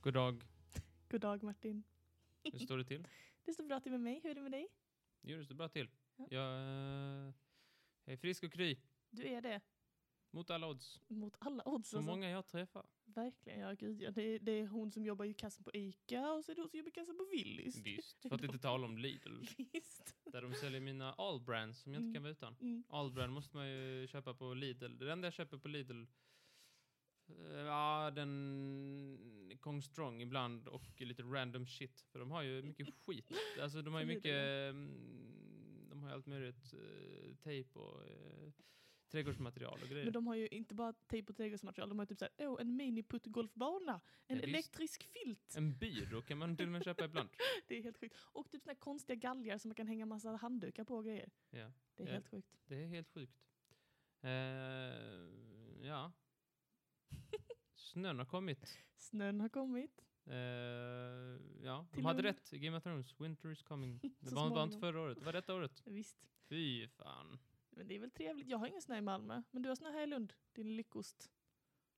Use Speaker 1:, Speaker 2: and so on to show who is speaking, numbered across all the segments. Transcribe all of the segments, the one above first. Speaker 1: God dag.
Speaker 2: God dag Martin.
Speaker 1: Hur står det till?
Speaker 2: Det står bra till med mig. Hur är det med dig?
Speaker 1: Jo, det står bra till.
Speaker 2: Ja.
Speaker 1: Jag, eh, jag är frisk och kry.
Speaker 2: Du är det.
Speaker 1: Mot alla odds.
Speaker 2: Mot alla odds
Speaker 1: Så
Speaker 2: alltså.
Speaker 1: många jag träffar.
Speaker 2: Verkligen, ja gud ja. Det, är- det är hon som jobbar i kassan på Ica och så är det hon som jobbar i kassan på Willys.
Speaker 1: Visst. För att inte tala om Lidl.
Speaker 2: Visst.
Speaker 1: Där de säljer mina all brands som jag inte
Speaker 2: Mm.
Speaker 1: kan vara utan.
Speaker 2: Mm.
Speaker 1: All brand måste man ju köpa på Lidl. Det enda jag köper på Lidl eh, Ja, den Kong Strong ibland och lite random shit. För de har ju mycket skit. Alltså de har ju
Speaker 2: På Lidl,
Speaker 1: mycket,
Speaker 2: ja.
Speaker 1: mm, de har ju allt möjligt. eh, Tejp och eh, trädgårdsmaterial och grejer.
Speaker 2: Men de har ju inte bara tejp och trädgårdsmaterial, de har typ såhär, åh en miniputtgolfbana, en
Speaker 1: Ja, visst.
Speaker 2: elektrisk filt.
Speaker 1: En byrå kan man till och med köpa ibland.
Speaker 2: Det är helt sjukt. Och typ såna här konstiga galgar som man kan hänga massa handdukar på och grejer.
Speaker 1: Ja,
Speaker 2: Det är
Speaker 1: Ja.
Speaker 2: helt sjukt.
Speaker 1: det är helt sjukt. Eh, ja. Snön har kommit.
Speaker 2: Snön har kommit.
Speaker 1: Eh, ja, de
Speaker 2: Till
Speaker 1: hade
Speaker 2: Lund.
Speaker 1: rätt i Game of Thrones. Winter is coming. Det
Speaker 2: Så
Speaker 1: var, var inte
Speaker 2: småningom.
Speaker 1: förra året, det var detta året.
Speaker 2: Visst.
Speaker 1: Fy fan.
Speaker 2: Men det är väl trevligt. Jag har ingen snö i Malmö, men du har snö här i Lund. Din lyckost.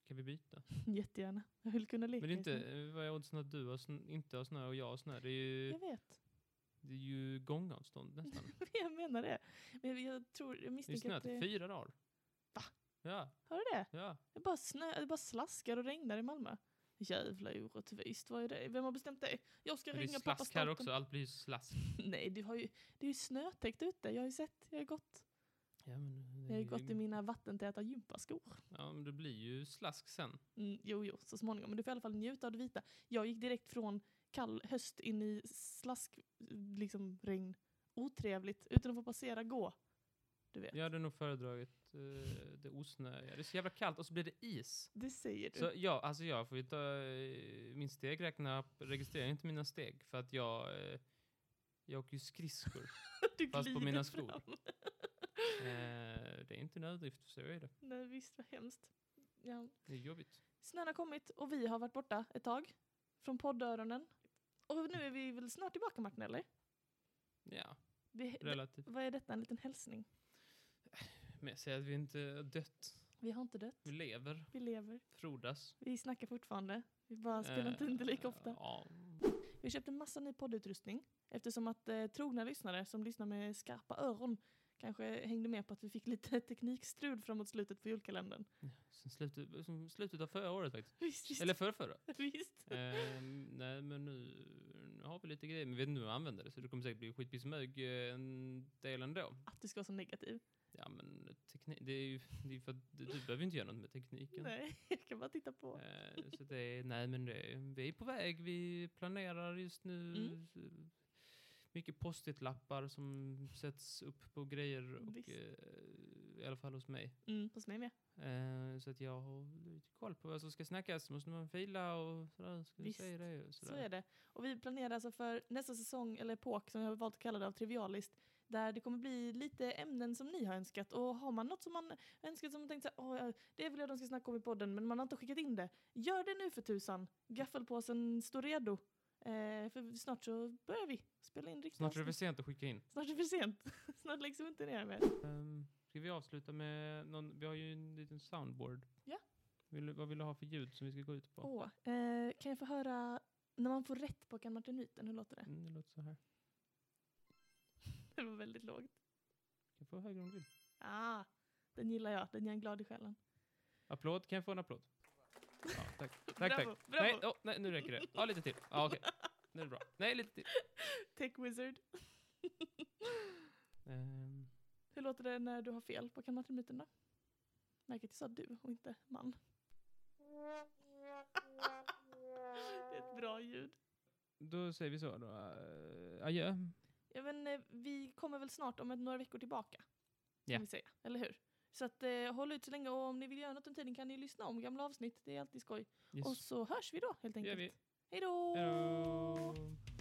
Speaker 1: Kan vi byta?
Speaker 2: Jättegärna. Jag vill kunna leka
Speaker 1: Men det är
Speaker 2: i snö.
Speaker 1: inte, eh, vad är oddsen att du har snö, inte har snö och jag har snö? Det är ju,
Speaker 2: liksom. Jag vet.
Speaker 1: det är ju gångavstånd nästan.
Speaker 2: Jag menar det. Men jag tror, jag
Speaker 1: Det är
Speaker 2: misstänker att
Speaker 1: snöat i
Speaker 2: det...
Speaker 1: fyra dagar.
Speaker 2: Va?
Speaker 1: Ja,
Speaker 2: Har du det?
Speaker 1: ja.
Speaker 2: Det bara, snö, det bara slaskar och regnar i Malmö. Jävla orättvist. Vad är det? Vem har bestämt det? Jag ska
Speaker 1: Men Det är
Speaker 2: ringa pappa
Speaker 1: slask här
Speaker 2: staten.
Speaker 1: också, allt blir ju slask.
Speaker 2: Nej, du har ju, det är ju snötäckt ute. Jag har ju sett. Jag har gått,
Speaker 1: Ja, men, det
Speaker 2: jag har
Speaker 1: är
Speaker 2: ju gått
Speaker 1: ju-
Speaker 2: i mina vattentäta gympaskor.
Speaker 1: Ja, men det blir ju slask sen.
Speaker 2: Mm, jo, jo, så småningom. Men du får i alla fall njuta av det vita. Jag gick direkt från kall höst in i slask, liksom regn. Otrevligt, utan att få passera gå. Du vet,
Speaker 1: Jag hade nog föredragit eh, det osnöiga. Det är så jävla kallt och så blir det is.
Speaker 2: det säger du.
Speaker 1: Så ja, alltså jag får ju ta... eh, Min stegräknare registrerar inte mina steg för att jag... eh, Jag åker ju skridskor.
Speaker 2: du
Speaker 1: fast på
Speaker 2: glider
Speaker 1: mina skor.
Speaker 2: fram.
Speaker 1: Eh, det är inte en överdrift, så är det.
Speaker 2: Nej, visst, vad hemskt. Ja.
Speaker 1: Det är jobbigt.
Speaker 2: Snön har kommit och vi har varit borta ett tag. Från poddöronen. Och nu är vi väl snart tillbaka Martin, eller? Eh,
Speaker 1: Ja,
Speaker 2: Vi,
Speaker 1: relativt.
Speaker 2: vad är detta? En liten hälsning?
Speaker 1: Men jag säger att vi inte har dött.
Speaker 2: Vi har inte dött.
Speaker 1: Vi lever,
Speaker 2: Vi lever.
Speaker 1: frodas.
Speaker 2: Vi snackar fortfarande. Vi bara spelar inte,
Speaker 1: Eh,
Speaker 2: inte lika ofta.
Speaker 1: Ja,
Speaker 2: Vi köpte en massa ny poddutrustning eftersom att eh, trogna lyssnare som lyssnar med skarpa öron kanske hängde med på att vi fick lite teknikstrul framåt slutet på julkalendern.
Speaker 1: sen slutet, sen slutet av förra året faktiskt.
Speaker 2: Visst, visst.
Speaker 1: Eller förrförra.
Speaker 2: visst.
Speaker 1: Eh, nej, men nu, nu har vi lite grejer. Men vi vet inte hur vi använder det, så det kommer säkert bli skitpissmög eh, en del ändå.
Speaker 2: Att du ska vara så negativ.
Speaker 1: Ja, men teknik, det är ju det är ju för att du du behöver inte göra något med tekniken.
Speaker 2: Nej, jag kan bara titta på.
Speaker 1: Eh, så det är, nej, men det, vi är på väg. Vi planerar just nu.
Speaker 2: Mm.
Speaker 1: s- Mycket post-it-lappar som sätts upp på grejer. Och,
Speaker 2: Visst.
Speaker 1: eh, I alla fall hos mig.
Speaker 2: Mm, hos mig med.
Speaker 1: Eh, så att jag har lite koll på vad som ska snackas. Så måste man fila och sådär. Ska vi
Speaker 2: Visst.
Speaker 1: säga det och sådär.
Speaker 2: Så är det. Och vi planerar alltså för nästa säsong, eller epok som jag har valt att kalla det av Trivialist, där det kommer bli lite ämnen som ni har önskat. Och har man något som man önskat som man tänkt så här, "Åh, ja, det vill jag de ska snacka om i podden, men man har inte skickat in det. Gör det nu för tusan! Gaffelpåsen står redo. Eh, för snart så börjar vi spela in riktigt.
Speaker 1: Snart är det för sent att skicka in.
Speaker 2: snart är det för sent. snart läggs vi inte ner mer.
Speaker 1: Um, ska vi avsluta med någon, vi har ju en liten soundboard.
Speaker 2: Ja.
Speaker 1: Vill, du- vad vill du ha för ljud som vi ska gå ut på?
Speaker 2: Åh, eh, kan jag få höra när man får rätt på Kan Martinyten, hur låter det?
Speaker 1: Mm, det låter så här.
Speaker 2: Det var väldigt lågt.
Speaker 1: Kan jag få högre om du vill?
Speaker 2: Ah, den gillar jag, den gör en glad i själen.
Speaker 1: Applåd, kan jag få en applåd? Ja, tack, tack.
Speaker 2: Bravo,
Speaker 1: tack.
Speaker 2: bravo.
Speaker 1: Nej, åh, nej, nu räcker det. Ja, lite till. Ja, okej. Nu är det bra. Nej, lite till.
Speaker 2: Tech wizard.
Speaker 1: Ehm,
Speaker 2: Hur låter det när du har fel på kammartrimiten då? Märk att jag sa du och inte man. det är ett bra ljud.
Speaker 1: då säger vi så då. Eh, adjö.
Speaker 2: Ja, men, eh, vi kommer väl snart om ett, några veckor tillbaka. Kan
Speaker 1: Ja.
Speaker 2: vi säga, eller hur? Så att, eh, håll ut så länge och om ni vill göra något om tiden kan ni lyssna om gamla avsnitt. Det är alltid skoj.
Speaker 1: Yes.
Speaker 2: Och så hörs vi då helt
Speaker 1: Det gör
Speaker 2: enkelt.
Speaker 1: vi.
Speaker 2: Hej då!
Speaker 1: Hej då.